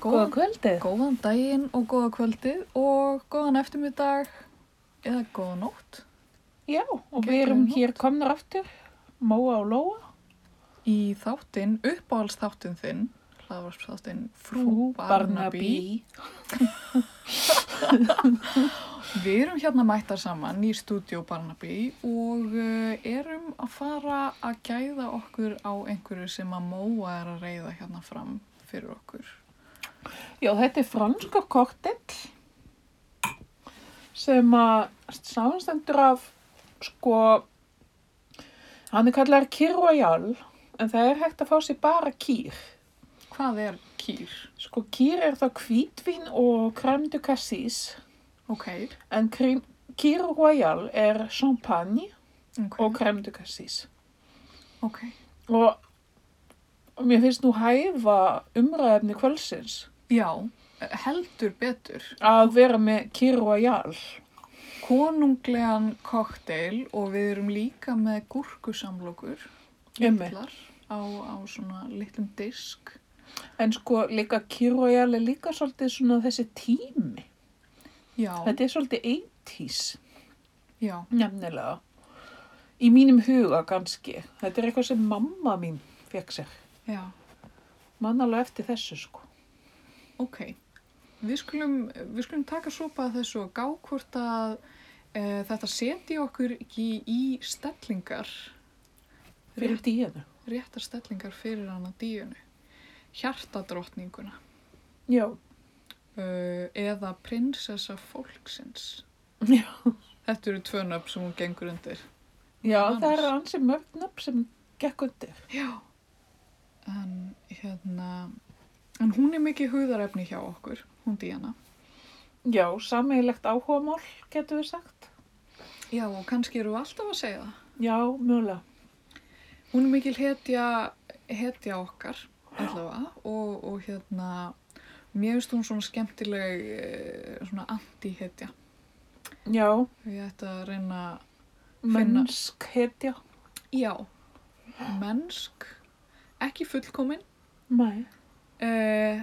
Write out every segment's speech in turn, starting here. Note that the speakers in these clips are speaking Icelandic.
Góða Góðan, kvöldið. góðan daginn og góða kvöldið og góðan eftirmiddag eða góða nótt Já, og við Geggjað erum nótt. hér komnar aftur, Móa og Lóa, í þáttinn, uppáhaldsþáttinn þinn, hlaðvarpsþáttinn Frú, Frú Barnaby. Barnaby. Við erum hérna mættar saman í stúdíó Barnaby og uh, erum að fara að gæða okkur á einhverju sem að Móa er að reyða hérna fram fyrir okkur. Já, þetta er franska kortill sem að samanstendur af, sko, hann er kallar kýr royal, en það er hægt að fá sér bara kýr. Hvað er kýr? Sko, kýr er þá kvítvín og kremdu kassís, Ok, en krím- kýr royal er champagne ok, og kremdu kassís. ok. Og og mér finnst nú hæfa umræðefni kvölsins Já, heldur betur. að vera með kýr royal. konunglegan kokteil og við erum líka með gúrkusamlokur Einmitt. litlar á, á svona litlum disk En sko líka Kirojal er líka svolítið svona þessi tími. já, Þetta er svolítið 80s já, nefnilega. Í mínum huga kannski. Þetta er eitthvað sem mamma mín fekk sér. já Mann alveg eftir þessu sko. ok, við skulum við skulum taka sopa af þessu og gá hvort að e, þetta seti okkur ekki í stellingar Fyrir Rétt. díðinu. réttar stellingar fyrir hana díunu hjartadrottninguna Já. uh, eða prinsessa fólksins Já, þetta eru tvö nöfn sem hún gengur undir Já Annars. það er ansið mörg nöfn sem gekk undir. Já, en hérna, en hún er mikið hugðarefni hjá okkur, hún Díana. Já, sameiglegt áhugamál getur við sagt. Já, og kannski eru við alltaf að segja það. Já, mjögulega. Hún er mikil hetja, hetja okkar, allavega, og, og hérna, mér finnst hún svona skemmtileg, eh, svona anti-hetja. Já, Ég ætti að reyna, Finna. mennsk hetja. já, mennsk, ekki fullkomin, Nei. eh,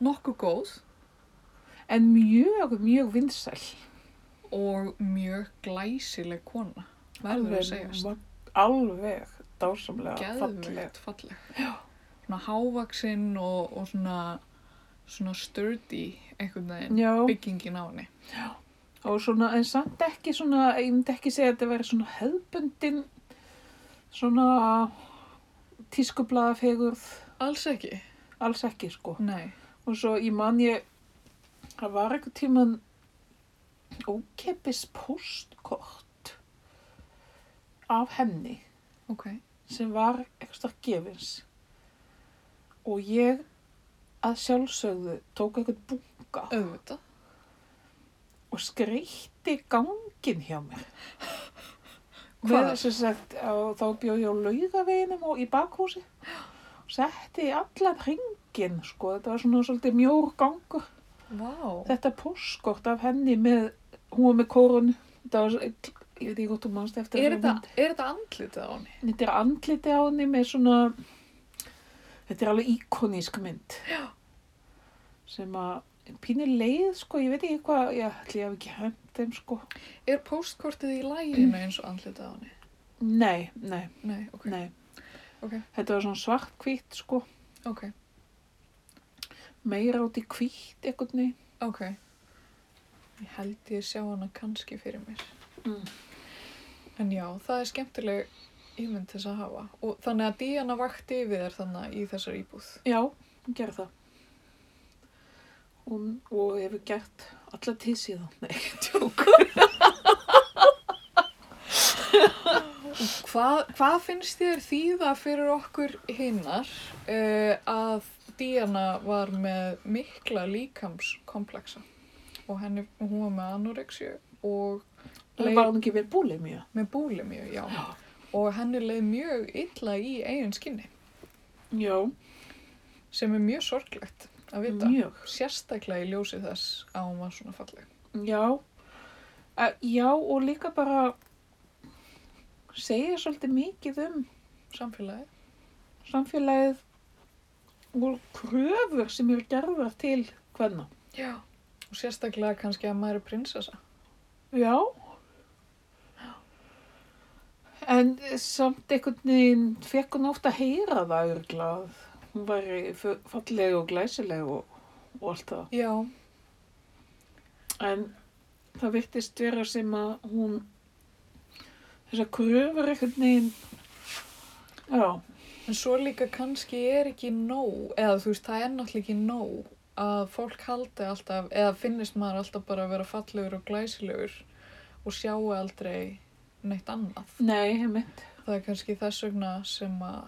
nokkuð góð En mjög, mjög vinsæl. og mjög glæsileg kona, verður að segjast. va- Alveg dásamlega falleg. geðvögt falleg svona hávaksinn og, og svona svona sturdy einhvern veginn Já, byggingin á henni og svona, en samt ekki svona, ég myndi ekki segja að þetta veri svona hefðbundin, svona tískublaðafegurð, alls ekki, alls ekki sko. nei Og svo ég man ég, það var eitthvað tíman ókeppis postkort af henni ok, sem var ekstra gefins. Og ég að sjálfsögðu tók eitthvað bunga. auðvitað og skreytti gangin hjá mér. Hvar? Með, sem sagt, á, þá bjóð ég á laugaveginum og í bakhúsi og setti í allan hringin, sko, þetta var svona svolítið mjór gangur. wow. Þetta póskort af henni með, hún var með kórun, þetta var, ég veit ekki hvort þú manst eftir er þessari þetta, mynd. er þetta andlitið á henni? Þetta er andliti á henni með svona, þetta er alveg íkonísk mynd. Já. Sem að pínu leið, sko, ég veit ekki hvað, ég ætli ég hafi ekki hönd þeim, sko. er postkortið í læginu eins og andlitið á henni? Nei, nei, nei, ok, nei. Ok. Þetta var svona svart-hvítt, sko, ok, meira út í hvítt einhvern veginn. ok ég held ég sjá hana kannski fyrir mér Mm. en já, það er skemmtileg ímynd þess að hafa og þannig að Díana vakti yfir þér þannig í þessar íbúð Já, hún gerði það. Hún, og hefur gert alla tíð síðan. Nei, tjók. Hvað, hvað finnst þér þýða fyrir okkur hinnar uh, að Díana var með mikla líkamskomplexa og henni, hún var með anorexju og Það var hún ekki verið búlið mjög. með búlimju, já, og henni leið mjög illa í eigin skinni Já, sem er mjög sorglegt að vita, mjög. sérstaklega í ljósi þess að hún var svona falleg. Já, uh, já og líka bara segja svolítið mikið um Samfélagið, samfélagið og kröfur sem eru gerðar til hvenna. Já. Og sérstaklega kannski að maður er prinsessa. Já. En samt einhvern veginn fekk hún oft að heyra það örgla að hún væri f- falleg og glæsileg og, og allt það. Já. En það virtist vera sem að hún, þessar kröfur einhvern veginn, já, En svo líka kannski er ekki nóg, eða þú veist, það er náttúrulega ekki nóg að fólk haldi alltaf, eða finnist maður alltaf bara að vera fallegur og glæsilegur og sjáu aldrei neitt annað. nei, einmitt. Það er kannski þess vegna sem að,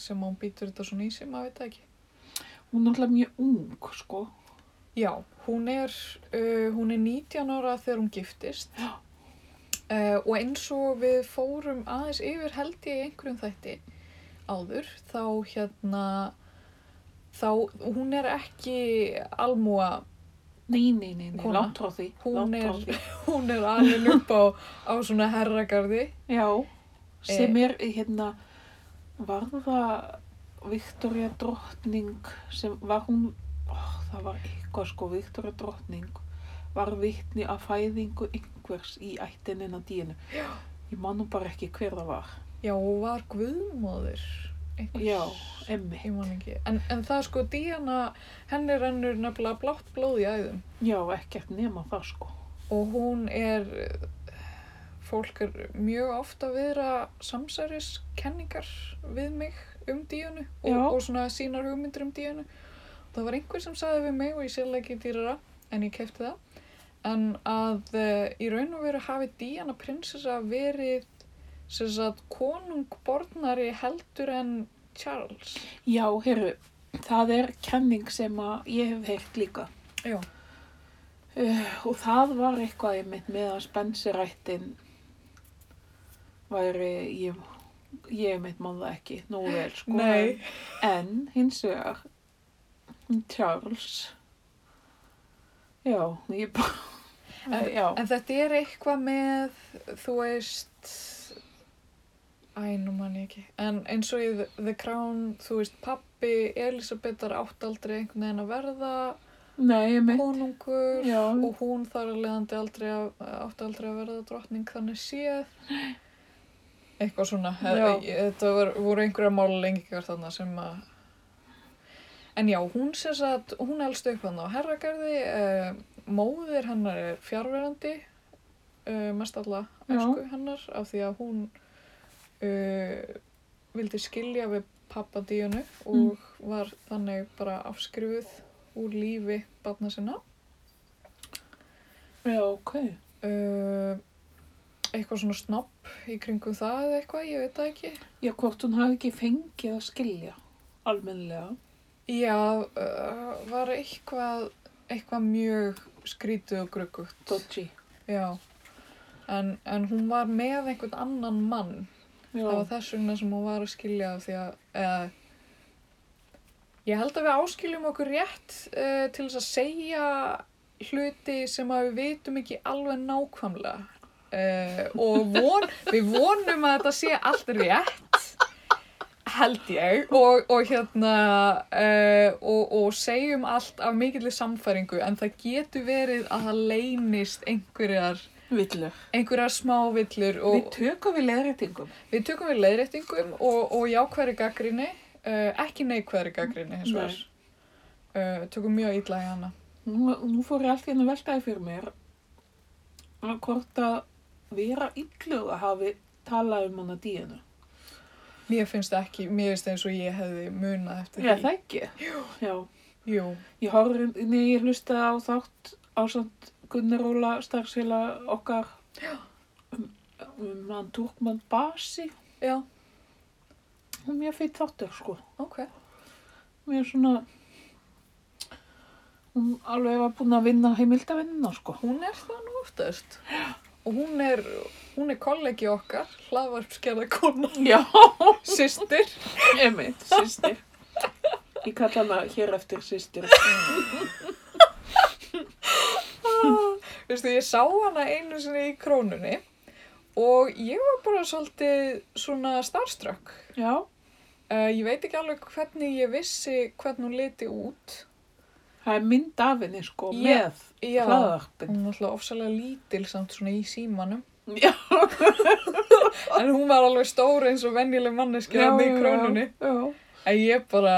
sem að hún býtur þetta svona í sig, maður veit það ekki. Hún er náttúrulega mjög ung, sko. Já, hún er, uh, hún er 19 ára þegar hún giftist uh, og eins og við fórum aðeins yfir held ég í einhverjum þætti áður, þá hérna, þá, hún er ekki almúa, Nei, nei, nei, nei, Kona. langt frá því. hún langt frá er, því. hún er alveg upp á, á svona herragarði. Já, Eh. sem er hérna, var það Viktoria drottning sem var hún, ó, það var eitthvað sko, Viktoria drottning var vittni að fæðingu einhvers í ættinina dínu. Já. Ég man nú bara ekki hver það var. Já, og var guðmóðir einhvers. Já, emmi. Ég man ekki. En, en það sko, Díana, henni rennur nefnilega blátt blóð í æðum. Já, ekkert nema það sko. og hún er fólk er mjög ofta að vera samsæriskenningar við mig um díunu og, Já. og svona sínar hugmyndir um díunu það var einhver sem sagði við mig og ég sérlega ekki dýrara en ég kefti það en að uh, í raun og veru hafi díana prinsessa verið sem sagt konungbornari heldur en Charles Já, heyrðu, það er kenning sem að ég hef heyrt líka. Já. Uh, og það var eitthvað einmitt með að spensirættin væri, ég, ég einmitt man það ekki, nógu vel sko. Nei. En hins vegar, Charles, já, ég bara, eh, En- já, En þetta er eitthvað með, þú veist, æ, nú mann ég ekki, en eins og í The- The Crown, þú veist, pappi Elisabetar átt aldrei einhvern veginn að verða nei, einmitt, konungur já, og hún þar að leiðandi aldrei að, átt aldrei að verða drottning þannig séð. Eitthvað svona, Já. eða- þetta var, voru einhverja mála lengingar þarna sem að, En já, hún sem sagt, hún elst upp hann á herragarði, uh, móðir hennar er fjárverandi, uh, mest alla Já. elsku hennar, af því að hún uh, vildi skilja við pappa Díunu og var þannig bara afskrifuð úr lífi barna sinna. já, ok, Uh, eitthvað svona snopp í kringum það eða eitthvað, ég veit það ekki. já, hvort hún hafi ekki fengið að skilja, almennilega. Já, uh, var eitthvað, eitthvað mjög skrítið og gruggugt. Dodgy. Já, en, en hún var með einhvern annan mann. Já, Það var þess vegna sem hún var að skilja af því að... Eða, ég held að við áskiljum okkur rétt uh, til þess að segja hluti sem að við vitum ekki alveg nákvæmlega. Uh, og von, við vonum að þetta sé allt rétt, held ég, og, og hérna, uh, og, og segjum allt af mikillir samfæringu, en það getur verið að það leynist einhverjar villur. einhverjar smávillur Við og tökum við leðréttingum. við tökum við leiðréttingum og, og jákværi gaggrinni, uh, ekki neikværi gaggrinni hins vegar. Uh, tökum mjög illa í hana. Nú, nú fór ég allt í hennu veltaði fyrir mér að hvort að vera illur að hafi talað um hana díinu. Mér finnst það ekki, mér finnst eins og ég hefði munað eftir Já, það ekki. Jú. Já, Jú, ég horfði, nei, ég hlustaði á þátt ásamt Gunnar Óla starfsfélag okkar um, um hann Turkman Basi já, og mér fyrir þáttur, sko. ok. Mér svona, hún alveg var búin að vinna heimildavinnina, sko. Hún er það nú oftast. Og hún er, hún er kollegi okkar, hlaðvarpskerða kona, Já. systir. Emmett, sýstir. Ég kalla hana hér eftir sýstir. Veistu, ég sá hana einu sinni í krónunni og ég var bara svolítið svona starstruck. Já, Uh, ég veit ekki alveg hvernig ég vissi hvernig hún liti út. Það er mynd af henni sko Já, með Já, hlaðarpin. hún var alltaf ofsalega lítil samt svona í símanum. Já, En hún var alveg stór eins og venjuleg manneski hérna hann í krónunni. Já, En ég bara,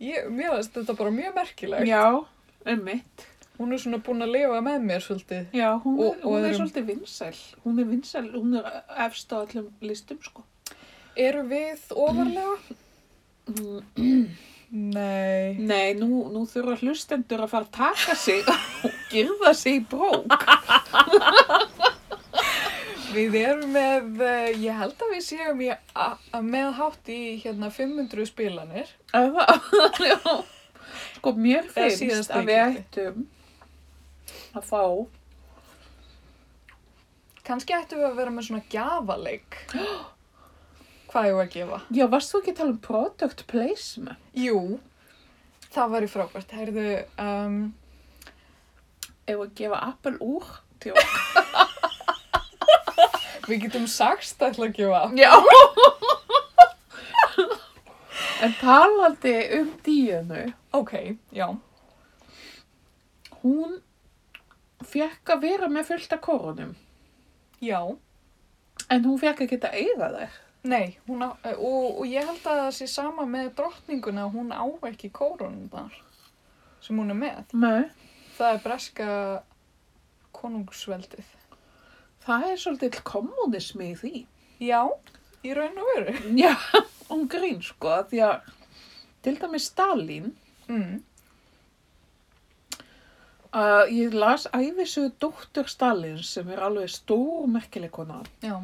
ég, mér finnst þetta bara mjög merkilegt. já einmitt. Hún er svona búin að lifa með mér svolítið. Já, hún, Og- og er, hún er öðrum. svolítið vinsæl. Hún er vinsæl, hún er efst á allum listum sko. Eru við ofarlega? Mm, Nei. Nei, nú, nú þurfa hlustendur að fara að taka sig og girða sig í brók. Við erum með, eh, ég held að við séum í, a, a, með hátt í hérna 500 spilanir. Að það- Já. Sko, mér Það er finnst síðasta að við ekki. ættum að fá Kanski ættum við að vera með svona gjafaleik. Hvað ég var að gefa? Já, varst þú ekki að tala um product placement? Jú, það væri frábært. Herðu, um, Ef að gefa Apple úr til okkur. við getum sagst ætla að gefa. Já. en talandi um díunu, Ok, já. hún fekk að vera með fullta korunum, Já. en hún fekk að geta eiga þær. Nei, hún á, eh, og, og ég held að það sé sama með drottninguna, hún á ekki kórununar sem hún er með. Nei. Það er breska konungsveldið. Það er svolítið kommunismi í því. Já, í raun og veru. Já, hún grín sko, af því að til dæmis Stalin, Mm. uh, ég las æfisugu dóttur Stalin sem er alveg stór merkileikona Já.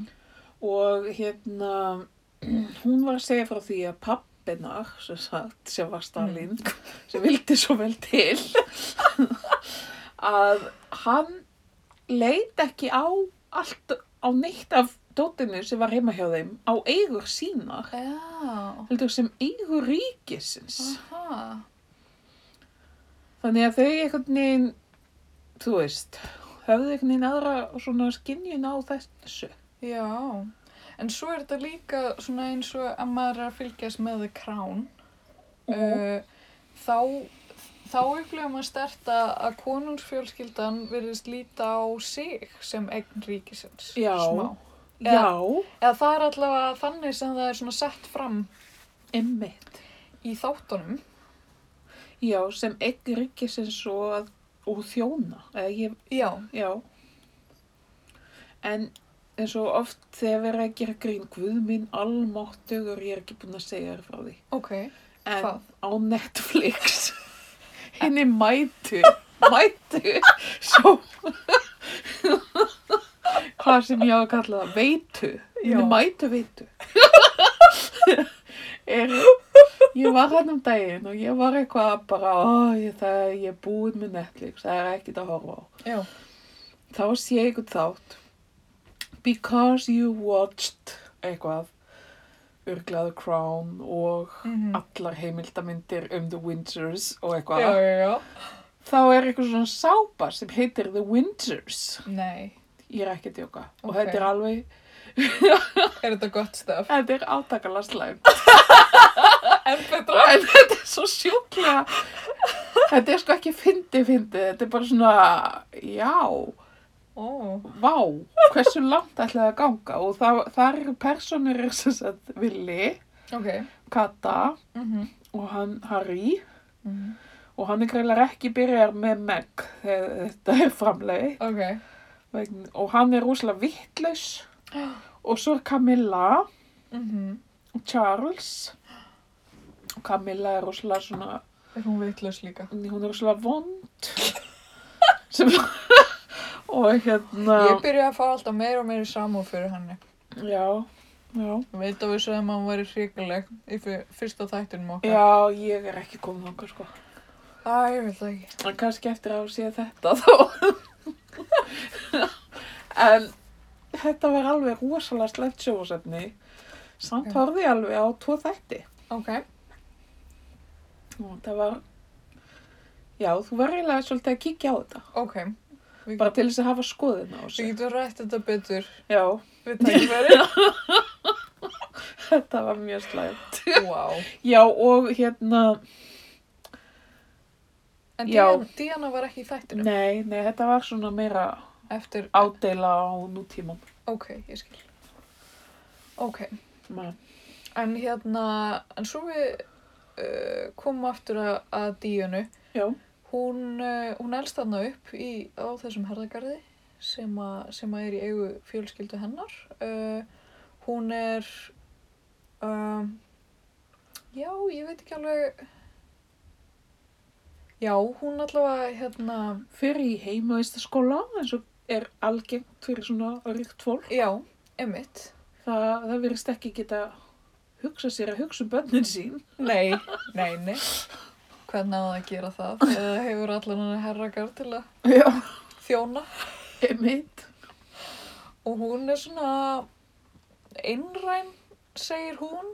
og hérna, hún var að segja frá því að pappinar, sem sagt, sem var Stalin, sem vildi svo vel til, að hann leit ekki á allt, á neitt af dóttinu sem var heima hjá þeim, á eigur sínar, Já. heldur sem eigur ríkisins. Aha. Þannig að þau einhvern veginn, þú veist, höfðu einhvern veginn aðra svona skinjun á þessu. Já. En svo er þetta líka svona eins og að maður er að fylgjast með The Crown. Uh, þá þá upplifum maður stert að að konungsfjölskyldan verðist líta á sig sem eign ríkisins. Já. Smá. Já, Eða það er allavega þannig sem það er svona sett fram emmitt. í þáttunum. Já, sem ekki ríkisins og, að- og þjóna. Eða, ég, Já. já. En eins og oft þegar við erum að gera grín, guð minn almáttugur, ég er ekki búin að segja þér frá því. Ok. En Hvað? á Netflix, henni mætu, mætu, svo, hvað sem ég á að kalla það, veitu, henni Já. mætu veitu. er, ég var hann um daginn og ég var eitthvað bara, ó, ég, það, ég er búin með Netflix, það er ekkert að horfa á. Já. Þá sé ég eitthvað þátt, because you watched eitthvað, Urglaður Crown og Mm allar heimildamindir um The Windsors og Já, eitthvað. já, já. Þá er eitthvað svona sápa sem heitir The Windsors. Nei. Ég er ekki að djóka. Og Ok. þetta er alveg, Er þetta gott stöf? þetta er átakalega slæmt. En betra. en þetta er svo sjúklega, þetta er sko ekki fyndi fyndi, þetta er bara svona, já, Ó. vá, hversu langt ætlaði að ganga. Og það, það eru personur sem sagt Willi, Ok. Kata Mm -hmm. og hann Harry Mm. og hann er greiðlega ekki byrjar með Meg þegar þetta er framleitt. Ok. vegna, og hann er rosalega vittlaus og svo er Camilla Mm og Charles og Camilla er rosalega svona Er hún veitlaus líka? hún er rosalega vond sem og hérna Ég byrja að fá alltaf meira og meira samúð fyrir henni. já, já Ég veit að við sögum að hún væri hrikaleg í fyr- fyrsta þættinum okkar. já, ég er ekki komin þangað sko Æ, ég veit það ekki. en kannski eftir að sé þetta þá en þetta var alveg rosalega slett sjóðsefni samt Já. horfði ég alveg á tvo þætti Ok. Og það var, já, þú var eiginlega svolítið að kíkja á þetta. Ok. Við, Bara til þess að hafa skoðin á við þessu. getum rætt þetta betur Já, við tækifæri. Þetta var mjög slæmt. Wow. Já, og hérna, En Já. Diana, Diana var ekki í þættinu nei, nei, þetta var svona meira eftir, ádeila á nútíman. ok, ég skil. Ok, Ma- en hérna, en svo við uh, komum aftur að, að Díunu. Já, Hún, uh, hún elst þarna upp í, á þessum herðagarði sem, a, sem að er í eigu fjölskyldu hennar. Uh, hún er, um, já, ég veit ekki alveg, já, hún allavega, hérna, fyrir í heimavistaskóla, eins og er algengt fyrir svona ríkt fólk. já, emitt. Það, það verist ekki geta hugsa sér að hugsa um bönnin sín. Nei, nei, nei. Hvernig á það að gera það? Eða hefur allan henni herragar til að Já. þjóna? Einmitt. Og hún er svona einræn, segir hún.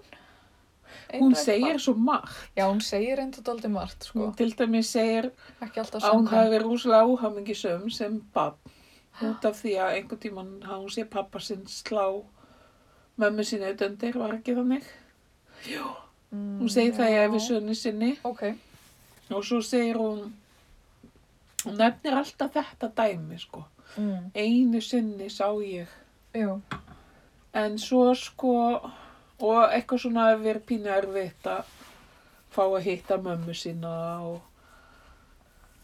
Hún Einrænt segir Mm. barn. svo margt. Já, hún segir einnig daldið margt, sko. Hún til dæmis segir Ekki alltaf að hún samkvæmt. hafi verið rúslega óhamingisum sem papp út af því að einhvern tíman hafði hún sé pappa sinn slá mömmu sinni auðvendir, var ekki þannig. Mm, Hún segir það í já. æfisöðunni sinni Ok, og svo segir hún, hún nefnir alltaf þetta dæmi sko. mm, Einu sinni sá ég, jú, en svo sko, og eitthvað svona hefur verið pínu erfitt að fá að hitta mömmu sína og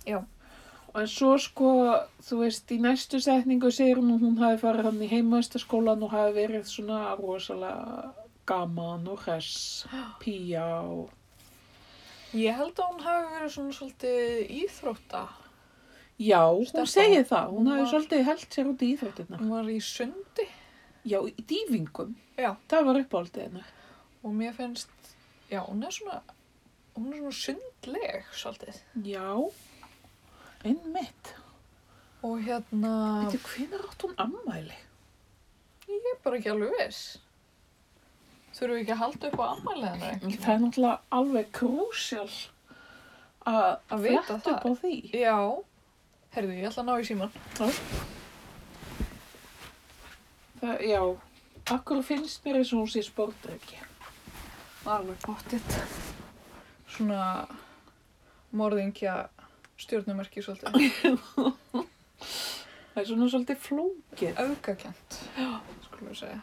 já, En svo sko, þú veist, í næstu setningu segir hún að hún hafi farið hann í heimaðistaskólan og hafi verið svona rosalega gaman og hress, pía og... ég held að hún hafi verið svona svolítið íþrótta. Já, Stelpa. hún segir það, hún hafi Hún var- svolítið held sér út í íþróttina. Hún var í sundi Já, í dýfingum. Já. Það var uppáldið hennar. og mér finnst, já, hún er svona, hún er svona sundleg svolítið. Já, einmitt. Og hérna, Veitir, hvenær átt hún ammæli? ég er bara ekki alveg viss. Þurfum við ekki að halda upp á ammælið hennar einhvern Mm-hmm. Það er náttúrulega alveg krúsjál að Að vita fletta það. upp á því. Já, herðu, ég ætla að ná í síman. Það, já, akkur finnst mér eins og hún sé sportdrykja. Alveg bóttið. Svona morðingja stjórnumerki svolítið. Það er svona svolítið flókið. Aukakent, skulum við segja.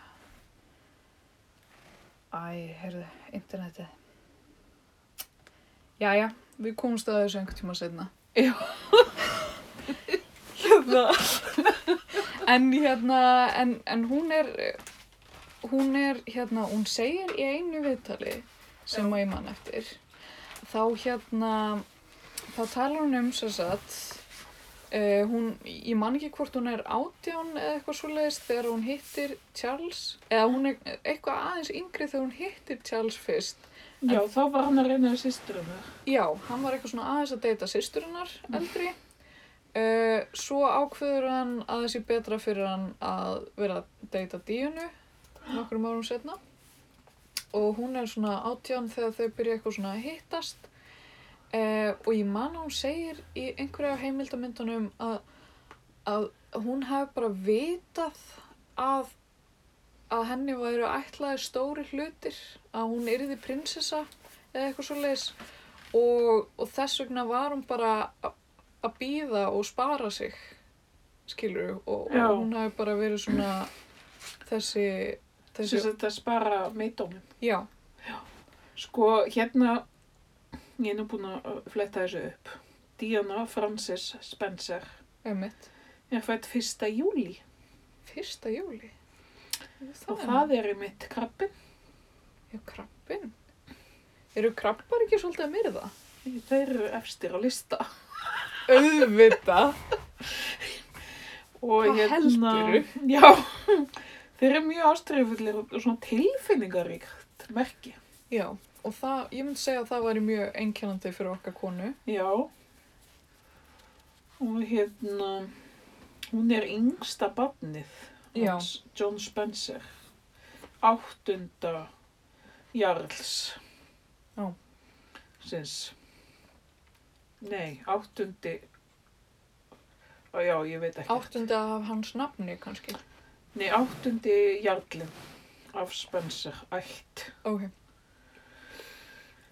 Æ, herðu, internetið. Jæja, við komumst að þessu einhvern tíma setna. Já. hérna. en hérna, en, en hún er, hún er hérna, hún segir í einu viðtali sem að ég mann eftir, þá hérna, þá talar hún um sem sagt, uh, hún, ég man ekki hvort hún er átján eða eitthvað svoleiðis þegar hún hittir Charles, eða hún er eitthvað aðeins yngri þegar hún hittir Charles fyrst, Já, þá var hann að reyna við sýstur um það. Já, hann var eitthvað svona aðeins að deyta sýsturinnar eldri. Uh, svo ákveður hann að það sé betra fyrir hann að vera að deyta díunu nokkrum árum setna. Og hún er svona átján þegar þau byrja eitthvað svona að hittast. Uh, og ég man að hún segir í einhverja af heimildamyndunum að, að hún hafi bara vitað að, að henni væru ætlaði stóri hlutir, að hún yrði prinsessa eða eitthvað svo leiðis og, og þess vegna var hún bara a- að býða og spara sig skilur og, Já. og hún hafi bara verið svona þessi, Þessi þessi að þetta spara meitdómin. já, Sko, hérna, ég er nú búin að fletta þessu upp. Diana Frances Spencer einmitt er fætt 1. júli fyrsta júli og er- það er einmitt krabbin. já, krabbin eru krabbar ekki svolítið að myrða? Þeir eru efstir á lista. auðvita Og hérna- Hvað heldurðu? Já, þeir eru mjög ástriðfullir og svona tilfinningaríkt merki. já, og það, ég myndi segja að það væri mjög einkennandi fyrir okkar konu Já. Og hérna, hún er yngsta barnið, Já. hans John Spencer, áttunda Jarls. Já. Sins. Nei, áttundi, Ó, já, ég veit ekki. áttunda af hans nafni kannski Nei, áttundi Jarlin, af Spencer ætt. Ok.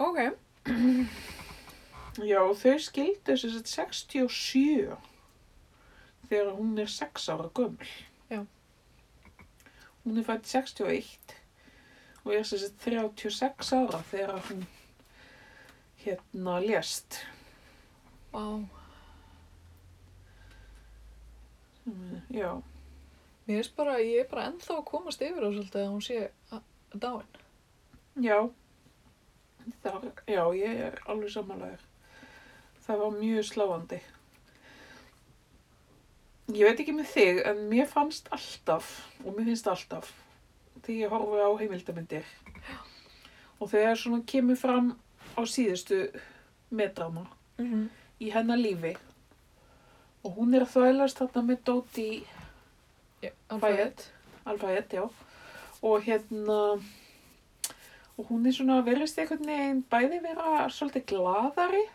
Ok. Já, þau skildu þess að 67 þegar hún er 6 ára gömul. Já. Hún er fætt 61 og er þess að 36 ára þegar hún hérna lést. Vá. Mm, Já, Mér finnst bara, ég er bara ennþá að komast yfir á svolítið að hún sé a- dáin. já. Það, já, ég er alveg samanlegaður. Það var mjög sláandi. Ég veit ekki með þig, en mér fannst alltaf, og mér finnst alltaf, því ég horfi á heimildamindir. Og þegar svona kemur fram á síðustu metrana Mm -hmm. í hennar lífi og hún er að þvælast þarna með Dóti í Fayette. Alfred, já. Og hérna, og hún er svona, verðist einhvern veginn bæði vera svolítið glaðari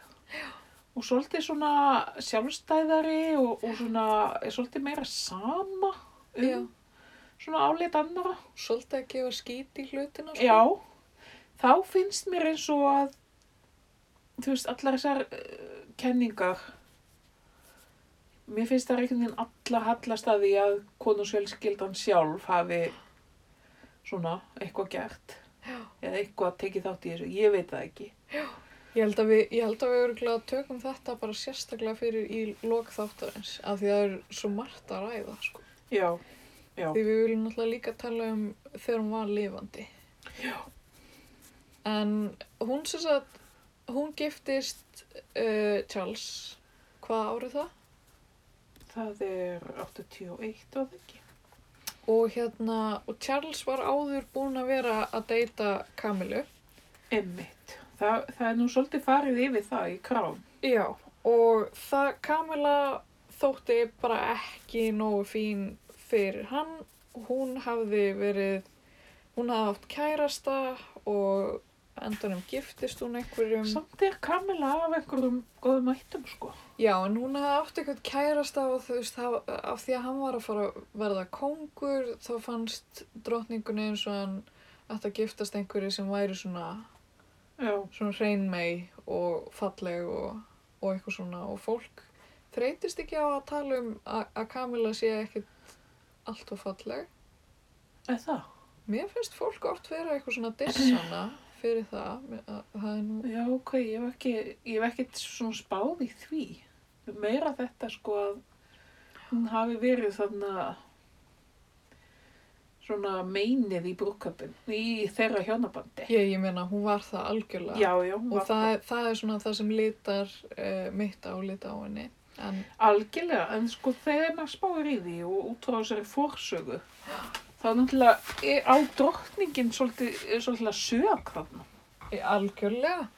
og svolítið svona sjálfstæðari og, og svona, er svolítið meira sama um Já. svona álit annara. Svolítið að gefa skít í hlutina. sko. Já, þá finnst mér eins og að, þú veist, allar þessar uh, kenningar, mér finnst það einhvern veginn allar hallast að því að konusfjölskyldan sjálf hafi svona eitthvað gert Já. eða eitthvað tekið þátt í þessu, ég veit það ekki. Ég held að við, ég held að við örgulega tökum þetta bara sérstaklega fyrir í lok þáttarins. Af því að það er svo margt að ræða, sko. Já, já, Því við viljum náttúrulega líka tala um þegar hún var lifandi. Já. En hún sem sagt, hún giftist uh, Charles, hvað árið það? það er 81 og ekki. Og hérna, og Charles var áður búinn að vera að deyta Kamilu. Emmitt, það, það er nú svolítið farið yfir það í krám. Já, og það Kamila þótti bara ekki nógu fín fyrir hann. Hún hafði verið, hún hafði átt kærasta og endanum giftist hún einhverjum. Samt er Kamila af einhverjum góðum ættum, sko. Já, en hún hafði átt eitthvað kærasta og þú veist, af, af því að hann var að fara að verða kóngur, þá fannst drottningunni eins og hann ætti að giftast einhverju sem væri svona, Já, svona hreinmei og falleg og, og eitthvað svona og fólk þreytist ekki á að tala um að að Kamila sé ekkit allt og falleg. eða það. Mér finnst fólk oft vera eitthvað svona dissana fyrir það, Mér- að- það er nú, Já, ok, ég hef ekki, ég hef ekkert svona spáð í því. Meira þetta sko að hún hafi verið þarna svona meinið í brúköpun, í þeirra hjónabandi. ég, ég meina hún var það algjörlega. Já, já, hún Og var það, er- það er svona það sem litar uh, mitt álit á henni. En algjörlega, en sko þegar maður spáir í því og út frá þessari forsögu, þá náttúrulega er á drottningin svolítið, er svolítið sög þarna. í- e, algjörlega.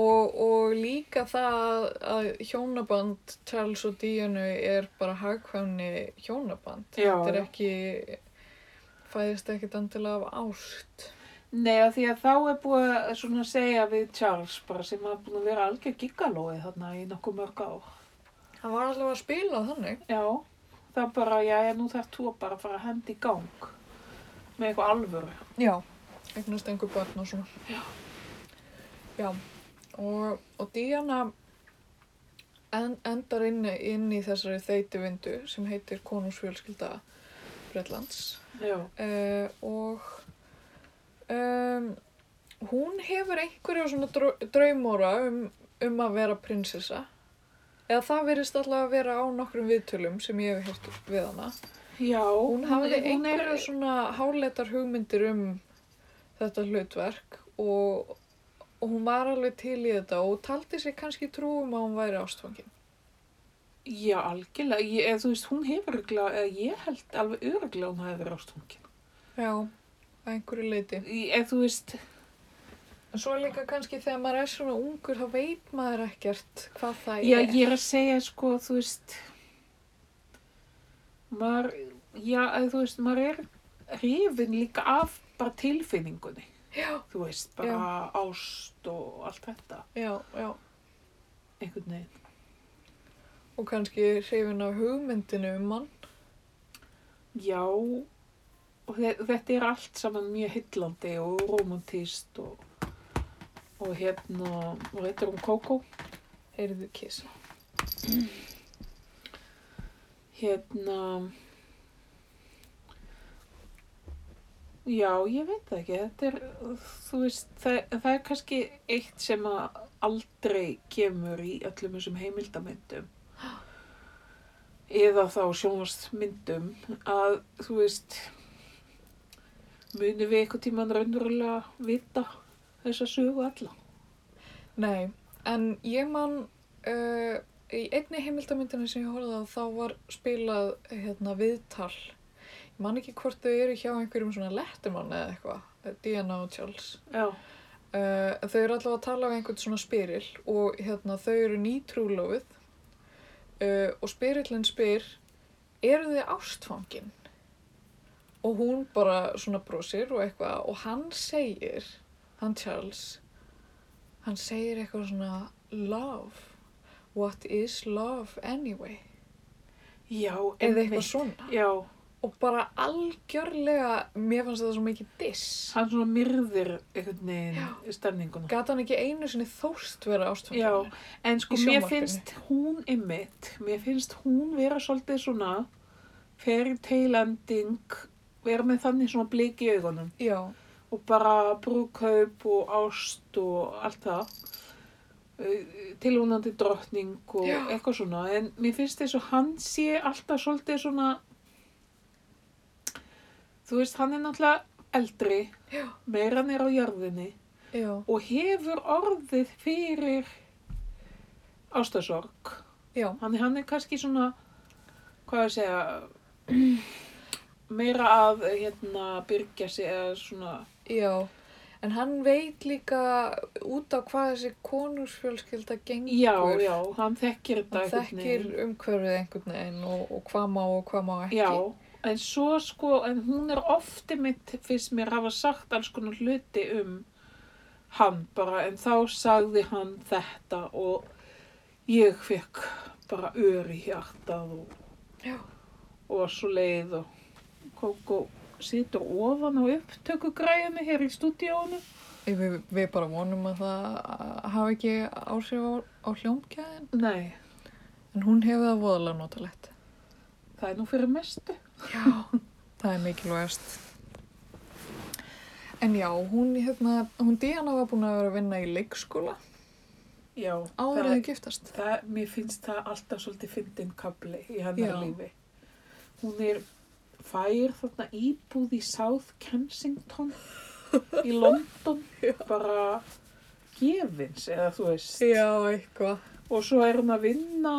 Og, og líka það að hjónaband Charles og Díunu er bara hagkvæmni hjónaband. Já, Þetta er já. ekki, fæðist ekkit endilega af ást. Nei, af því að þá er búið að svona segja við Charles bara sem að búin að vera algjör gigalóið þarna í nokkuð mörg ár. Hann var allavega að spila þannig. Já, það er bara, já, nú þarf þú að bara fara að henda í gang með eitthvað alvöru. Já. Eignast einhver börn og svona. Já. Já. Og, og Díana en, endar inn, inn í þessari þeytivindu sem heitir konungsfjölskylda Bretlands. Já, uh, og um, hún hefur einhverja svona drau- draumóra um, um að vera prinsessa eða það verist alltaf að vera á nokkrum viðtölum sem ég hef hert við hana já. hún hafði hún er- einhverja svona háleitar hugmyndir um þetta hlutverk og, og hún var alveg til í þetta og taldi sér kannski trúum að hún væri ástfangin Já, algjörlega, ég, eða, þú veist, hún hefur örgulega, eða ég held alveg örgulega hún hafi verið ástungin. já, að einhverju leiti Í- Eða þú veist, en svo er líka kannski þegar maður er svona ungur þá veit maður ekkert hvað það já, er ég er að segja, sko, þú veist, maður, já, eða þú veist, maður er hrifin líka af bara tilfinningunni. Já. Þú veist, bara ást og allt þetta, Já, já. einhvern veginn. Og kannski hrifin af hugmyndinu um mann. Já, og þe- þetta er allt saman mjög hyllandi og romantíst og, og hérna, og þetta er um Kókó. Heyrðu kissa. Hérna, já, ég veit það ekki, þetta er, þú veist, það, það er kannski eitt sem að aldrei kemur í öllum þessum heimildamyndum eða þá sjónvarsmyndum að, þú veist, munum við eitthvað tíman raunverulega vita þessa sögu alla. Nei, en ég man uh, í einni heimildamyndinu sem ég horfði á þá var spilað hérna, viðtal. Ég man ekki hvort þau eru hjá einhverjum svona lettumann eða eitthvað, eh, Diana og Charles. Já, Uh, þau eru allavega að tala um einhvern svona spyril og hérna, þau eru nýtrúlófið uh, og spyrillin spyr, eru þið ástfangin? Og hún bara svona brosir og eitthvað og hann segir, hann Charles, hann segir eitthvað svona love, what is love anyway? já, Eða eitthvað svona. Já, Og bara algjörlega, mér fannst þetta svo mikið diss. hann svona myrðir einhvern veginn stemninguna. Gat hann ekki einu sinni þóst vera ástfangin? Já, en sko Í mér sjónvarpinu. finnst hún ymmit, mér finnst hún vera svolítið svona fairy tale ending, vera með þannig svona blik í augunum Já. og bara brúkaup og ást og allt það Eh, tilvonandi drottning og Já. eitthvað svona en mér finnst þess að hann sé alltaf svolítið svona þú veist, hann er náttúrulega eldri Já. meira hann er á jörðinni Já, og hefur orðið fyrir ástasorg. já, Þannig hann er kannski svona, hvað ég segja, meira að hérna byrgja sig eða svona, já. En hann veit líka út á hvað þessi konursfjölskylda gengur. já, já, hann þekkir þetta Hann þekkir umhverfið einhvern veginn og, og hvað má og hvað má ekki. Já, en svo sko, en hún er ofti mitt fyrst mér hafa sagt alls konar hluti um hann bara, en þá sagði hann þetta og ég fekk bara ör í hjartað og Já, og var svo leið og Kókó situr ofan á upptöku græðinu hér í stúdíónu. Við, við bara vonum að það hafi ekki áhrif á, á hljómgæðin. Nei, En hún hefur það voðalega notalegt. það er nú fyrir mestu. Já, það er mikilvægast. En já, hún, hérna, hún Diana var búin að vera að vinna í leikskóla Já, áður það, að giftast. það, mér finnst það alltaf svolítið fyndin kabli í hennar Já. lífi. Hún er fær þarna íbúð í South Kensington í London, bara gefins eða þú veist. eitthvað. og svo er hún að vinna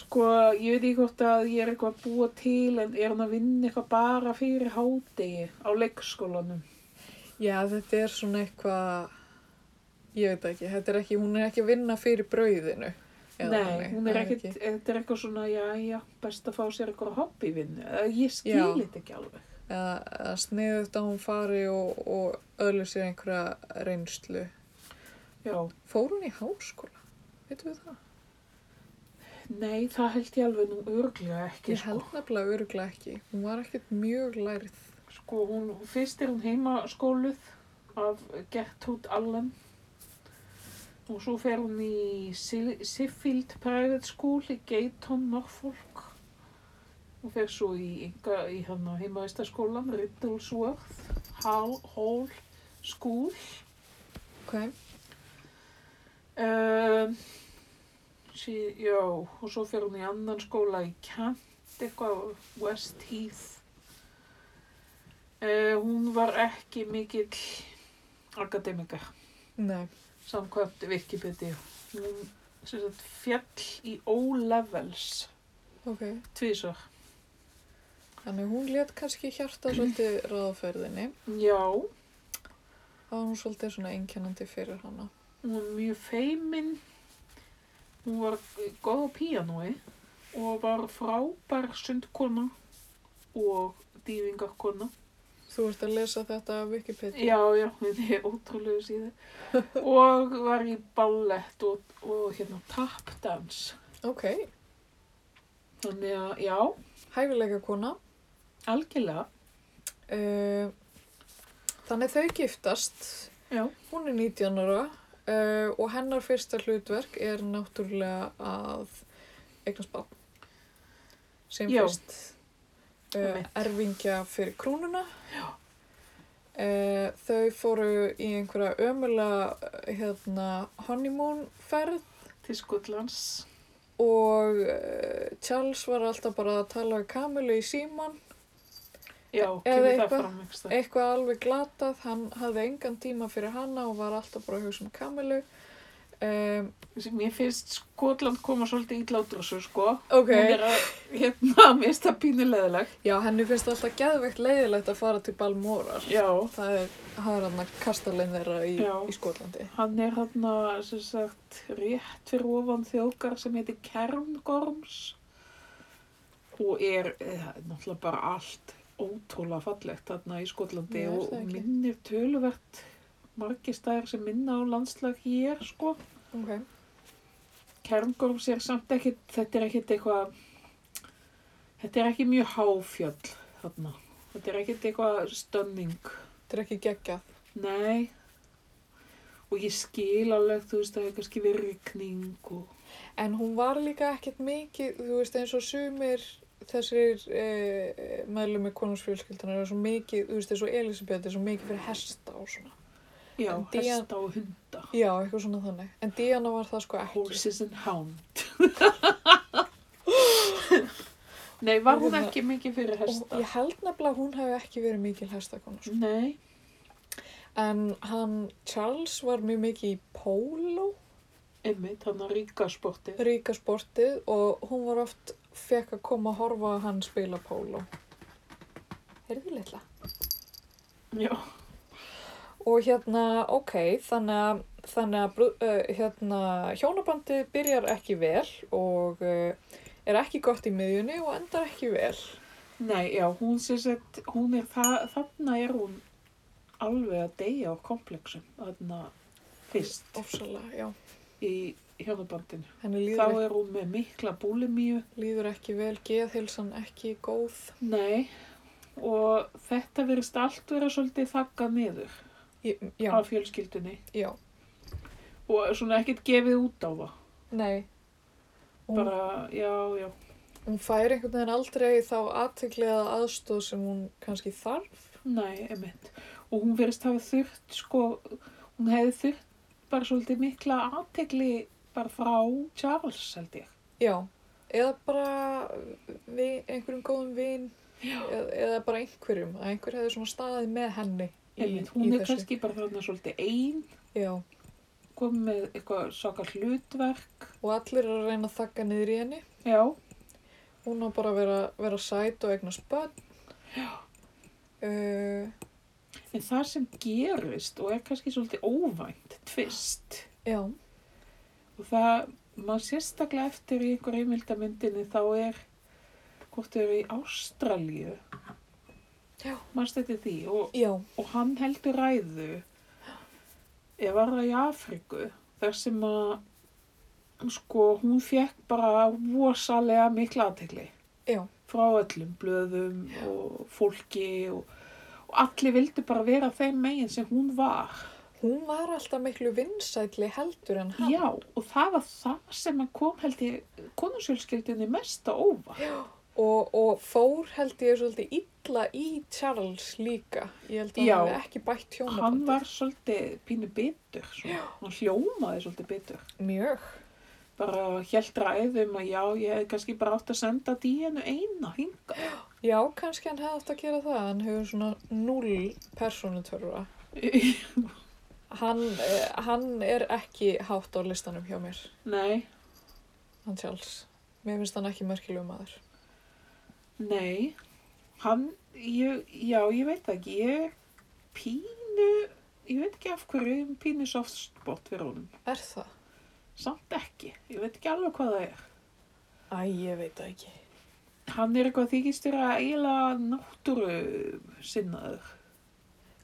sko, ég veit ekki hvort að ég er eitthvað að búa til en er hún að vinna eitthvað bara fyrir hádegi á leikskólanum Já, þetta er svona eitthvað, ég veit ekki, þetta er ekki, hún er ekki að vinna fyrir brauðinu. eða nei, þannig, hún er það ekkit, þetta er eitthvað svona já, já, best að fá sér eitthvað hobbyvinnu Eh, ég skil Já. þetta ekki alveg Eða eða sniðugt að hún fari og, og öðlu sér einhverja reynslu. já, Fór hún í háskóla? Veitum við það? nei, það held ég alveg nú örglega ekki Ég sko. held nefnilega öruglega ekki. Hún var ekkert mjög lærið. sko, hún, fyrst er hún heimaskóluð af Gertrúd Allen og svo fer hún í Sil- Sheffield Private School í Gayton, Norfolk og fer svo í, enga, í hana, heimavistaskólan Riddlesworth Hall, Hall School Ok. um, sí, já, og svo fer hún í annan skóla í Kent eitthvað West Heath uh, hún var ekki mikill akademika Nei. samkvæmt Wikipedia. Hún sem sagt fjall í O-levels Ok. tvísar. Þannig hún let kannski hjarta svolítið ráðferðinni. Já, Það var hún svolítið svona einkennandi fyrir hana. hún var mjög feimin, hún var góð á píanói og var frábær sundkona og dýfingarkona. Þú ert að lesa þetta af Wikipedia. Já, já, þetta er ótrúlegu síðu. Og var í ballett og, og hérna tapdans. Ok. Þannig að, já, Hæfileika kona. algjörlega. Uh, þannig þau giftast, Já. hún er 19 ára uh, og hennar fyrsta hlutverk er náttúrulega að eignast barn sem Já. fyrst uh, Einmitt. erfingja fyrir krúnuna. Uh, þau fóru í einhverja ömulega hérna, honeymoon ferð Til Skotlands. og uh, Charles var alltaf bara að tala við Kamilu í síman Já, Eða kemur það eitthvað. fram einhvers það. eitthvað alveg glatað, hann hafði engan tíma fyrir hanna og var alltaf bara að hugsa um Kamilu um, Mér finnst Skotland koma svolítið illa út úr þessu, sko. ok, Hún er að, hérna, mér finnst það pínulegðileg. já henni finnst alltaf geðveikt leiðilegt að fara til Balmoral Já, það er, það er hann að kastarlein þeirra í, Já. í Skotlandi hann er þarna, sem sagt, rétt fyrir ofan þjókar sem heitir Kerngorms og er, eða, náttúrulega bara allt ótrúlega fallegt þarna í Skotlandi Já, er og það ekki? minnir töluvert margir stæðar sem minna á landslag hér, sko. ok, Kerngorms er samt ekkit, þetta er ekkit eitthvað, þetta er ekki mjög háfjöll þarna. Þetta er ekkit eitthvað stunning. þetta er ekki geggjað Nei. Og ég skil alveg, þú veist, það hefur kannski verið rigning og... en hún var líka ekkert mikið þú veist eins og sumir þessir eh, meðlum með konungsfjölskyldunar er svo mikið, þú veist eins og Elisabeth er svo mikið fyrir hesta og svona Já, En Dían- hesta og hunda. Já, eitthvað svona þannig. En Diana var það sko ekki. Horses and hound. Nei, var Hérna- hún ekki mikið fyrir Og hesta? ég held nefnilega að hún hefði ekki verið mikil hestakona. Sko. Nei. En hann, Charles, var mjög mikið í póló, Einmitt, hann að ríka sportið. ríka sportið og hún var oft, fekk að koma að horfa að hann spila póló. Heyrðu litla. Já, Og hérna, ok, þannig að, þannig að brú- uh, hérna, hjónabandið byrjar ekki vel og uh, er ekki gott í miðjunni og endar ekki vel. nei, já, hún sé sett, hún er það, þarna er hún alveg að deyja á komplexum, þarna fyrst Ofsalega, já. í hjónabandinu. Henni Þá líður, er hún með mikla búlimíu líður ekki vel, geðhilsan ekki góð. Nei, og þetta verist allt vera svolítið þakkað niður Ég- Já, af fjölskyldunni já, og svona ekkert gefið út á það. nei. Hún, Bara, já, já, hún fær einhvern veginn aldrei þá aðteglega aðstóð sem hún kannski þarf. nei, emitt. Og hún verist hafa þurft, sko, hún hefði þurft bara svolítið mikla aðtegli bara frá Charles, held ég. Já, eða bara við, einhverjum góðum vin eða, eða bara einhverjum, að einhver hefði svona staðið með henni í, Emitt, í hún er þessu. kannski bara þarna svolítið einn, Já, komið með eitthvað svaka hlutverk. og allir eru að reyna að þakka niður í henni. Já, Hún á bara að vera, vera sæt og eignast börn. Já. Uh, en það sem gerist og er kannski svolítið óvænt, tvist. já, Og það, maður sérstaklega eftir í einhver heimildamyndinni þá er, hvort þau eru í Ástralíu. Já. Maður stætti því og, já, og hann heldur ræðu, ég var það í Afríku, þar sem að, sko, hún fekk bara vosalega mikla aðtegli já, frá öllum blöðum og fólki og, og allir vildu bara vera þeim megin sem hún var. hún var alltaf miklu vinsætli heldur en hann. Já, og það var það sem að kom held ég konusjölskyldinni mest á óva. Og, og fór held ég svolítið illa í Charles líka. Ég held að Já. hann hefði ekki bætt hjónabandi. Hann var svolítið pínu bitur, svona. hann hljómaði svolítið bitur. Mjög. Bara held ræðum að já, ég hef kannski bara átt að senda díinu eina hinga. Já, kannski hann hefði átt að gera það. Hann hefur svona null persónutörfa. Hann, eh, hann er ekki hátt á listanum hjá mér, nei, hann Charles. Mér finnst hann ekki merkilegu maður. nei, hann, ég, já, ég veit það ekki, ég er pínu, ég veit ekki af hverju, ég er pínu softspot fyrir honum. Er það? Samt ekki, ég veit ekki alveg hvað það er. Æ, ég veit það ekki. Hann er eitthvað þykist þér að eiginlega náttúru sinnaður,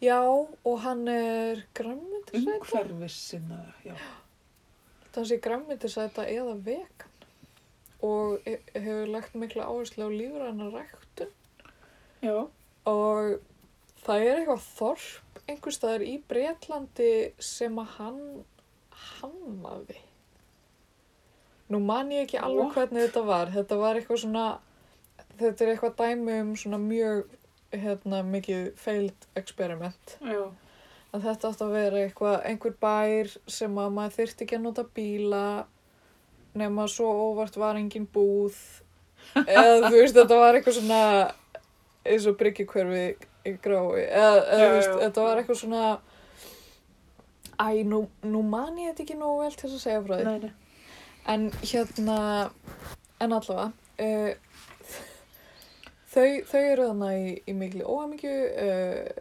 Já, og hann er græmyndisæta. umhverfis sinnaður, já. Hann sé græmyndisæta eða vegan. Og he- hefur lagt mikla áherslu á lífræna ræktun. Já, og Það er eitthvað þorp einhverstaðar í Bretlandi sem að hann hannaði. Nú man ég ekki alveg What? hvernig þetta var. Þetta var eitthvað svona, þetta er eitthvað dæmi um svona mjög, hérna, mikið failed experiment. Já, Að þetta átti að vera eitthvað, einhver bær sem að maður þyrfti ekki að nota bíla nema svo óvart var engin búð. Eða þú veist, þetta var eitthvað svona, eins og bryggjukverfi í grái eða, eða Já, þú veist, já, já. þetta var eitthvað svona æ, nú, nú man ég þetta ekki nógu vel til þess að segja frá því nei, nei. en hérna, en allavega uh, þau, þau eru þarna í, í mikli óhamingju uh,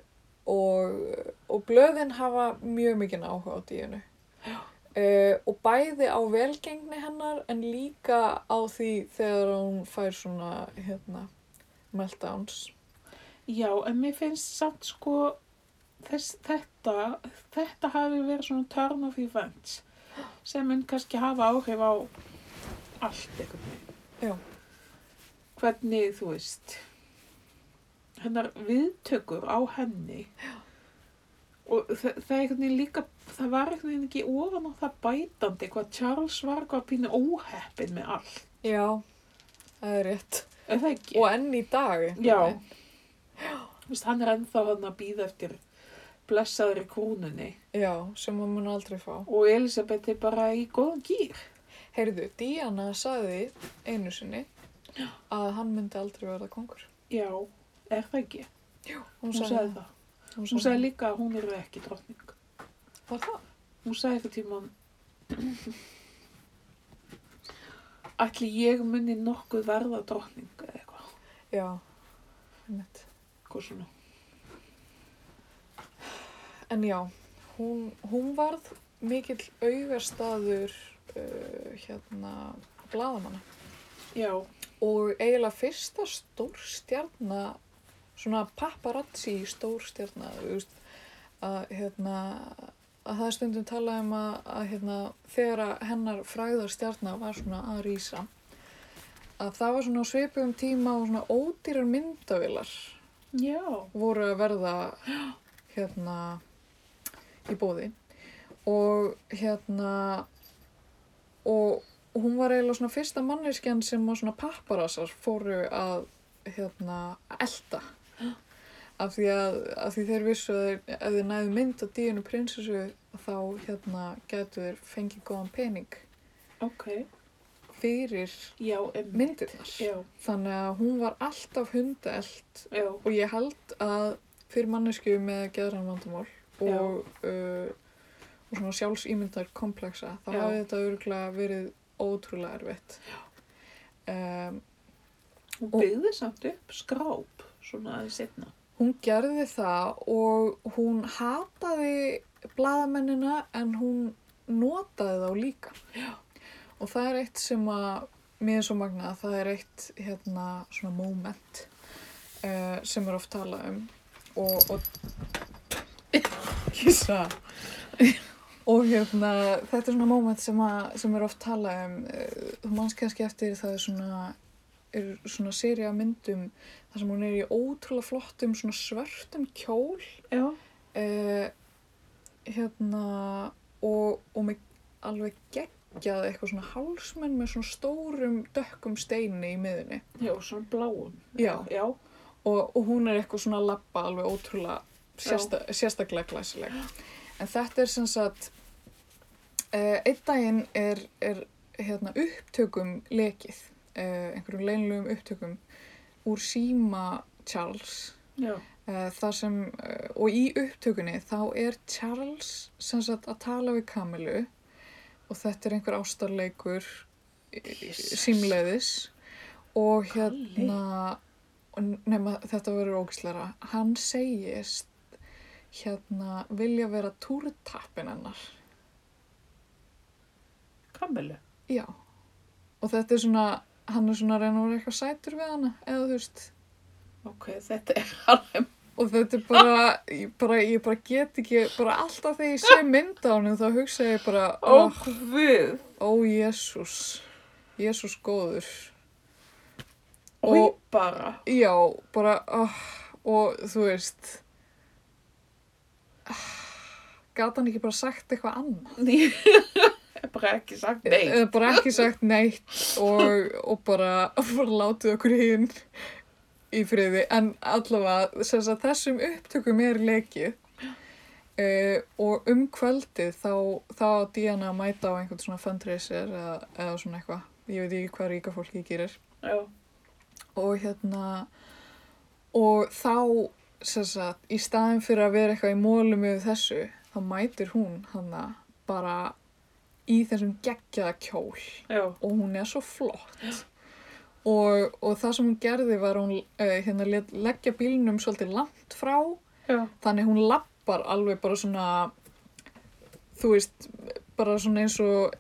og, og blöðin hafa mjög mikið áhuga á díunu Uh, og bæði á velgengni hennar en líka á því þegar hún fær svona hérna, meltdowns Já, en mér finnst samt sko þess, þetta, þetta hafi verið svona turn of events sem mun kannski hafa áhrif á allt einhvern veginn. Já. Hvernig, þú veist, hennar viðtökur á henni Já. og þa það er einhvern veginn líka, það var einhvern veginn ekki ofan á það bætandi hvað Charles var hvað pínu óheppin með allt. Já, það er rétt. Er það ekki? Og enn í dag. einhvern Já. veginn. Þú veist, hann er ennþá hann að býða eftir blessaðri krúnunni Já, sem maður mun aldrei fá. og Elisabeth er bara í góðan gýr. Heyrðu, Diana sagði einu sinni að hann myndi aldrei verða kongur. Já, er það ekki? Hún, Hún sagði það. Hún Hún sagði líka að hún er ekki drottning. Var það? Hún sagði eitthvað tímann, ætli ég muni nokkuð verða drottning eða eitthvað, Já, einmitt. eitthvað svona. En já, hún, hún varð mikill augastaður uh, hérna blaðamanna. Já, Og eiginlega fyrsta stórstjarna, svona paparazzi stórstjarna, þú veist, að, hérna, að það er stundum talað um að, að hérna, þegar að hennar fræðarstjarna var svona að rýsa, að það var svona á svipum tíma og svona ódýrar myndavilar já, voru að verða hérna í bóði og hérna og hún var eiginlega svona fyrsta manneskjan sem að svona papparasar fóru að hérna elda af því að, af því þeir vissu að þeir, ef þeir næðu mynd að díinu prinsessu þá hérna gætu þeir fengið góðan pening ok, fyrir já, emmi. myndirnar Já, þannig að hún var alltaf hundaelt já, Og ég held að fyrir mannesku með geðrann vandamál og, uh, og svona sjálfsýmyndar kompleksa, þá Já. hafi þetta örgulega verið ótrúlega erfitt. Um, hún Og- byggði samt upp skráp svona aðeins setna. hún gerði það og hún hataði bladamennina en hún notaði þá líka. Já. Og það er eitt sem að, mér er svo magna, það er eitt hérna svona moment uh, sem er oft talað um og, og kissa. Og hérna, þetta er svona moment sem, að, sem er oft talað um, eh, þú manns kannski eftir það er svona, er svona séri af myndum þar sem hún er í ótrúlega flottum svona svörtum kjól Já, eh, hérna og, og með alveg geggjað eitthvað svona hálsmenn með svona stórum dökkum steini í miðunni já, svona bláum. Já. Já, og, og hún er eitthvað svona að labba alveg ótrúlega sérsta, sérstaklega glæsileg en þetta er sem sagt eh, einn daginn er, er hérna, upptökum lekið eh, einhverjum leinlegum upptökum úr síma Charles já, Eh, þar sem, eh, og í upptökunni þá er Charles sem sagt að tala við Kamilu og þetta er einhver ástarleikur Jesus. símleiðis og Kalli. hérna og nema þetta verður ógisleira hann segist hérna vilja vera túrtappin hennar kammelu. já og þetta er svona hann er svona að reyna að vera eitthvað sætur við hana eða þú veist Ok, þetta er alveg Og þetta er bara, ég bara, ég bara get ekki, bara alltaf þegar ég sé mynd á henni þá hugsa ég bara, ó, Ókvöð. ó, Jésús, Jésús góður. Og Og- bara. Já, bara, ó, og "Ah." þú veist, "Ah." Gat hann ekki bara sagt eitthvað annað? Ég hef bara ekki sagt nei. Eða Eh, bara ekki sagt neitt og, og bara, bara látið okkur hinn í friði. En allavega, sem sagt, þessum upptökum er lekið uh, og um kvöldið þá, þá á Diana að mæta á einhvern svona fundraiser eða, eða svona eitthvað. Ég veit ekki hvað ríka fólki gerir. Já, og hérna og þá sem sagt, í staðin fyrir að vera eitthvað í mólum með þessu, þá mætir hún hana bara í þessum geggjaða kjól já, og hún er svo flott og, og það sem hún gerði var að hún uh, hérna, lét leggja bílnum svolítið langt frá já, þannig hún lappar alveg bara svona þú veist, bara svona eins og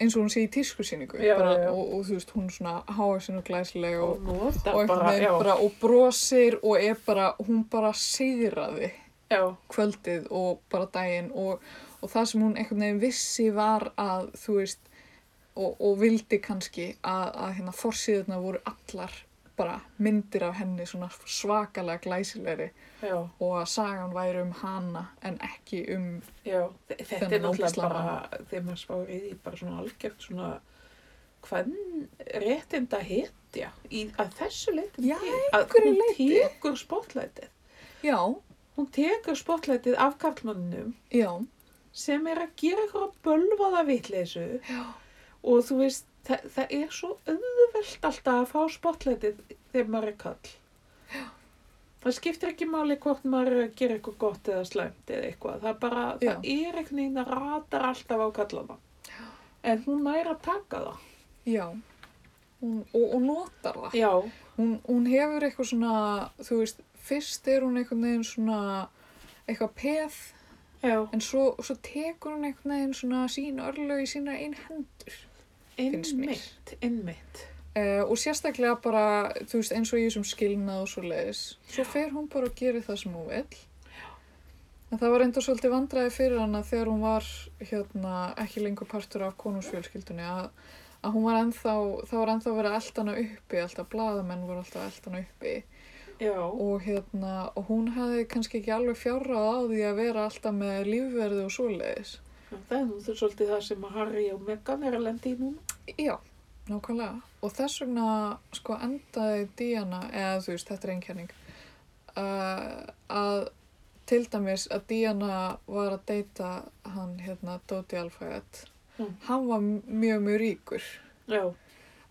eins og hún sé í tískusýningu Já, bara, já. Og, og þú veist, hún er svona háasin og glæsileg og, og nota og einhvern bara, já, veginn bara og brosir og er bara, hún bara sigraði já, kvöldið og bara daginn og, og það sem hún einhvern veginn vissi var að þú veist og, og vildi kannski að, að hérna forsýðuna voru allar bara myndir af henni svona svakalega glæsilegri já, og að sagan væri um hana en ekki um já. Þe- Þetta er Þennan náttúrulega ógeðslega bara, þegar maður spáir í því, bara svona algjört svona hvern réttinda hetja í, að þessu leyti Já, til að einhverju hún leyti. tekur spotlætið. já, Hún tekur spotlætið af kallmannum já, sem er að gera eitthvað bölvaða vitleysu já og þú veist, það, það er svo auðvelt alltaf að fá spotlætið þegar maður er kall. Það skiptir ekki máli hvort maður er að gera eitthvað gott eða slæmt eða eitthvað. Það er bara, það er einhvern veginn að ratar alltaf á kallana. En hún næri að taka það. já hún, og, og notar það Já, hún, hún hefur eitthvað svona, þú veist, fyrst er hún einhvern veginn svona eitthvað peð, já, en svo, svo tekur hún einhvern veginn svona sín örlög í sína einn hendur. Finnst mér. innmitt, innmitt. Uh, og sérstaklega bara, þú veist, eins og ég sem skilnað og svo leiðis. Svo fer hún bara og gerir það sem hún vill. En það var enda svolítið vandræði fyrir hana þegar hún var hérna, ekki lengur partur af konungsfjölskyldunni að, að hún var ennþá, það var ennþá verið að elda hana uppi, alltaf blaðamenn voru alltaf að elda hana uppi. Já, og hérna, og hún hafði kannski ekki alveg fjárrað á því að vera alltaf með lífverði og svoleiðis. það er nú þurr svolítið það sem að Harry og Meghan er að lenda í núna. Já, nákvæmlega. Og þess vegna, sko, endaði Diana, eða þú veist, þetta er einkenning, uh, að til dæmis að Diana var að deyta hann, hérna, Dóti Alfæðet. Mm. Hann var m- mjög, mjög ríkur. Já,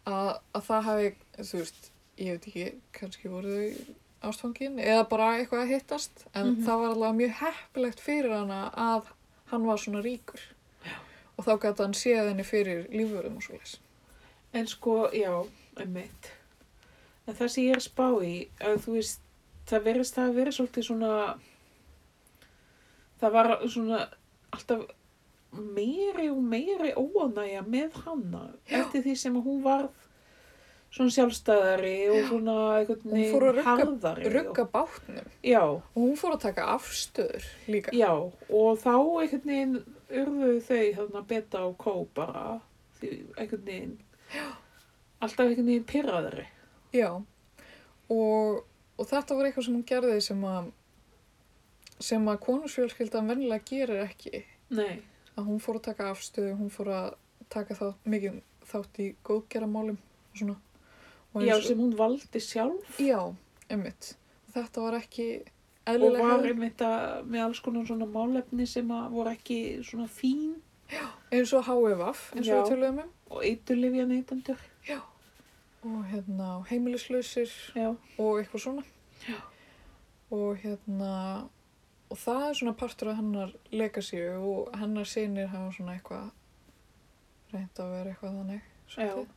að, að það hafi, þú veist, ég veit ekki, kannski voru þau ástfangin eða bara eitthvað að hittast en Mhm. það var alveg mjög heppilegt fyrir hana að hann var svona ríkur og þá gæti hann séð henni fyrir lífurum og svo leys. En sko, já, einmitt. En það sem ég er að spá í, að þú veist, það verðist það að vera svolítið svona, það var svona alltaf meiri og meiri óanægja með hanna Já. eftir því sem hún varð svona sjálfstæðari og svona einhvern Hún fór að rugga- veginn harðari. Rugga bátnum Og, já, og hún fór að taka afstöður líka. já, og þá einhvern veginn urðu þau þarna beta og kó bara, því einhvern veginn, alltaf einhvern veginn pyrraðari. Já, og, og þetta var eitthvað sem hún gerði sem að sem að konusfjölskyldan vennilega gerir ekki Nei, að hún fór að taka afstöðu, hún fór að taka þá, mikið þátt í góðgeramálum og svona. Og já, eins og- sem hún valdi sjálf já, einmitt. Þetta var ekki og eðlilega var hefð. einmitt að með alls konar svona málefni sem að voru ekki svona fín eins og E HVVF, eins og Já. við töluðum um. og eiturlifja neytendur. Og hérna, og heimilislausir Já, og eitthvað svona. Já. Og hérna, og það er svona partur af hennar legasíu og hennar sinir hafa svona eitthvað reynd að vera eitthvað þannig. já, svolítið.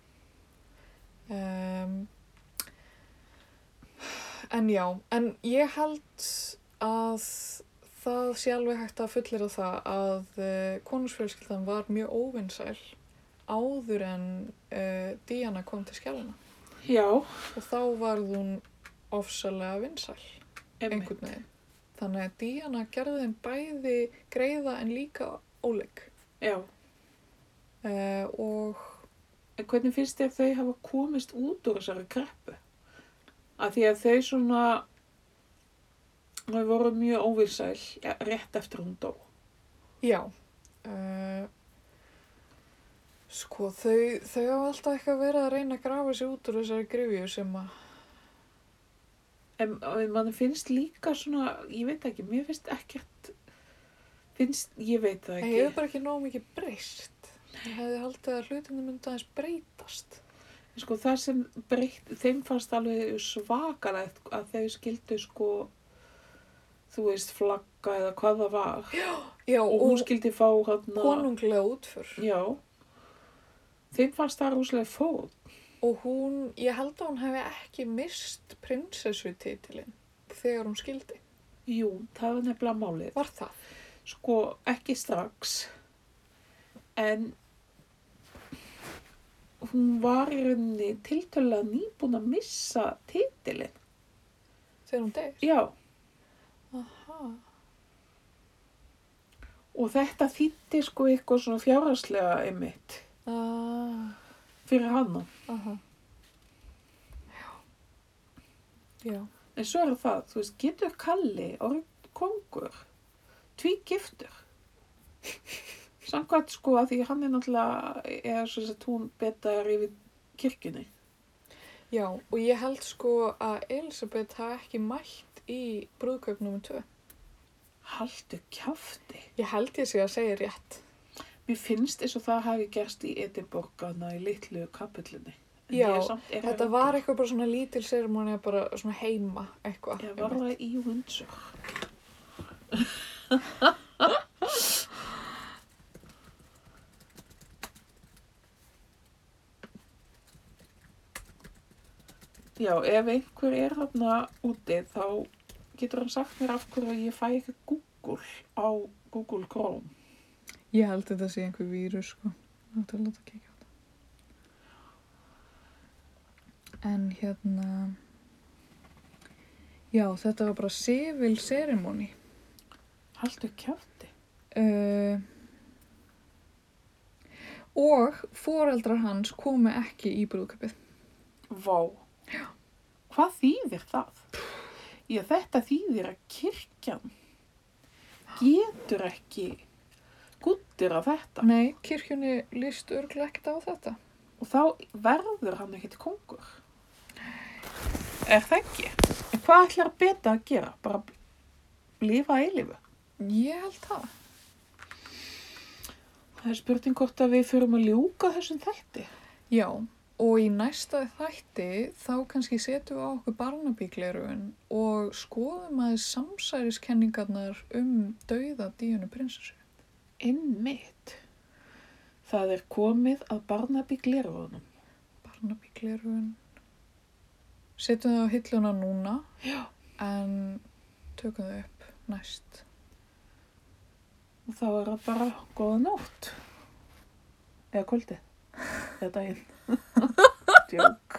Um, en já, en ég held að það sé alveg hægt að fullera það að uh, konusfjölskyldan var mjög óvinnsæl áður en uh, Diana kom til skjálina já, og þá varð hún ofsalega vinsæl einmitt. einhvern veginn. Þannig að Diana gerði þeim bæði greiða en líka óleik Já, uh, og en hvernig finnst þér þau hafa komist út úr þessari kreppu? Af því að þau svona, þau voru mjög óvinsæl ja, rétt eftir hún dó. Já. Uh, sko, þau, þau hafa alltaf eitthvað verið að reyna að grafa sér út úr þessari grifju sem að, En, en mann finnst líka svona, ég veit ekki, mér finnst ekkert, finnst, ég veit það það ekki. hefur bara ekki nóg mikið breyst. Ég hefði haldið að hlutinu myndi aðeins breytast. Sko það sem breytt, þeim fannst alveg svakalegt að þau skildu sko, þú veist, flagga eða hvað það var. Já, Og hún skildi fá hann konunglega útför. Já. Þeim fannst það rúslega fóð. Og hún, ég held að hún hefði ekki mist prinsessu titilinn þegar hún skildi. Jú, það var nefnilega málið. Var það? Sko, ekki strax. En hún var í rauninni tiltölulega nýbúin að missa titilinn. Þegar hún deyr? Já. Aha. Og þetta þýtti sko eitthvað svona fjárhagslega einmitt Ah, fyrir hana. aha. Já. Já. En svo er það, þú veist, getur Kalli orðið kongur, tví giftur. Samkvæmt sko að því hann er náttúrulega, eða svo að hún betar yfir kirkjunni. Já, og ég held sko að Elisabeth hafi ekki mætt í brúðkaup nr. 2. Haldu kjafti. Ég held ég sé að segja rétt. Mér finnst eins og það hafi gerst í Edinborgana í litlu kapullunni. Já, Þetta var eitthvað bara svona lítil sermóni bara svona heima eitthvað. Ég var það í Windsor. Já, ef einhver er þarna úti þá getur hann sagt mér af hverju ég fæ ekki Google á Google Chrome. Ég held þetta sé einhver vírus sko. Þetta er láta ekki ekki á þetta. En hérna... Já, þetta var bara civil ceremony. Haldur kjátti. Uh, og foreldrar hans komu ekki í brúðköpið. Vá. Hvað þýðir það? Já, þetta þýðir að kirkjan getur ekki guttir að þetta. Nei, kirkjunni líst örglega ekkert á þetta. Og þá verður hann ekkert kongur. Er það ekki? En hvað ætlar beta að gera? Bara lifa að eilifu? Ég held það. Það er spurning hvort að við fyrum að ljúka þessum þætti. Já, og í næsta þætti þá kannski setjum við á okkur barnabíklerun og skoðum að samsæriskenningarnar um dauða díunu prinsessu. Einmitt. Það er komið að Barnaby Glervónum. Barnabíklerun. Setjum það á hilluna núna. Já. En tökum þau upp næst. Og þá er það bara góða nótt. Eða kvöldið. Eða daginn. Djók.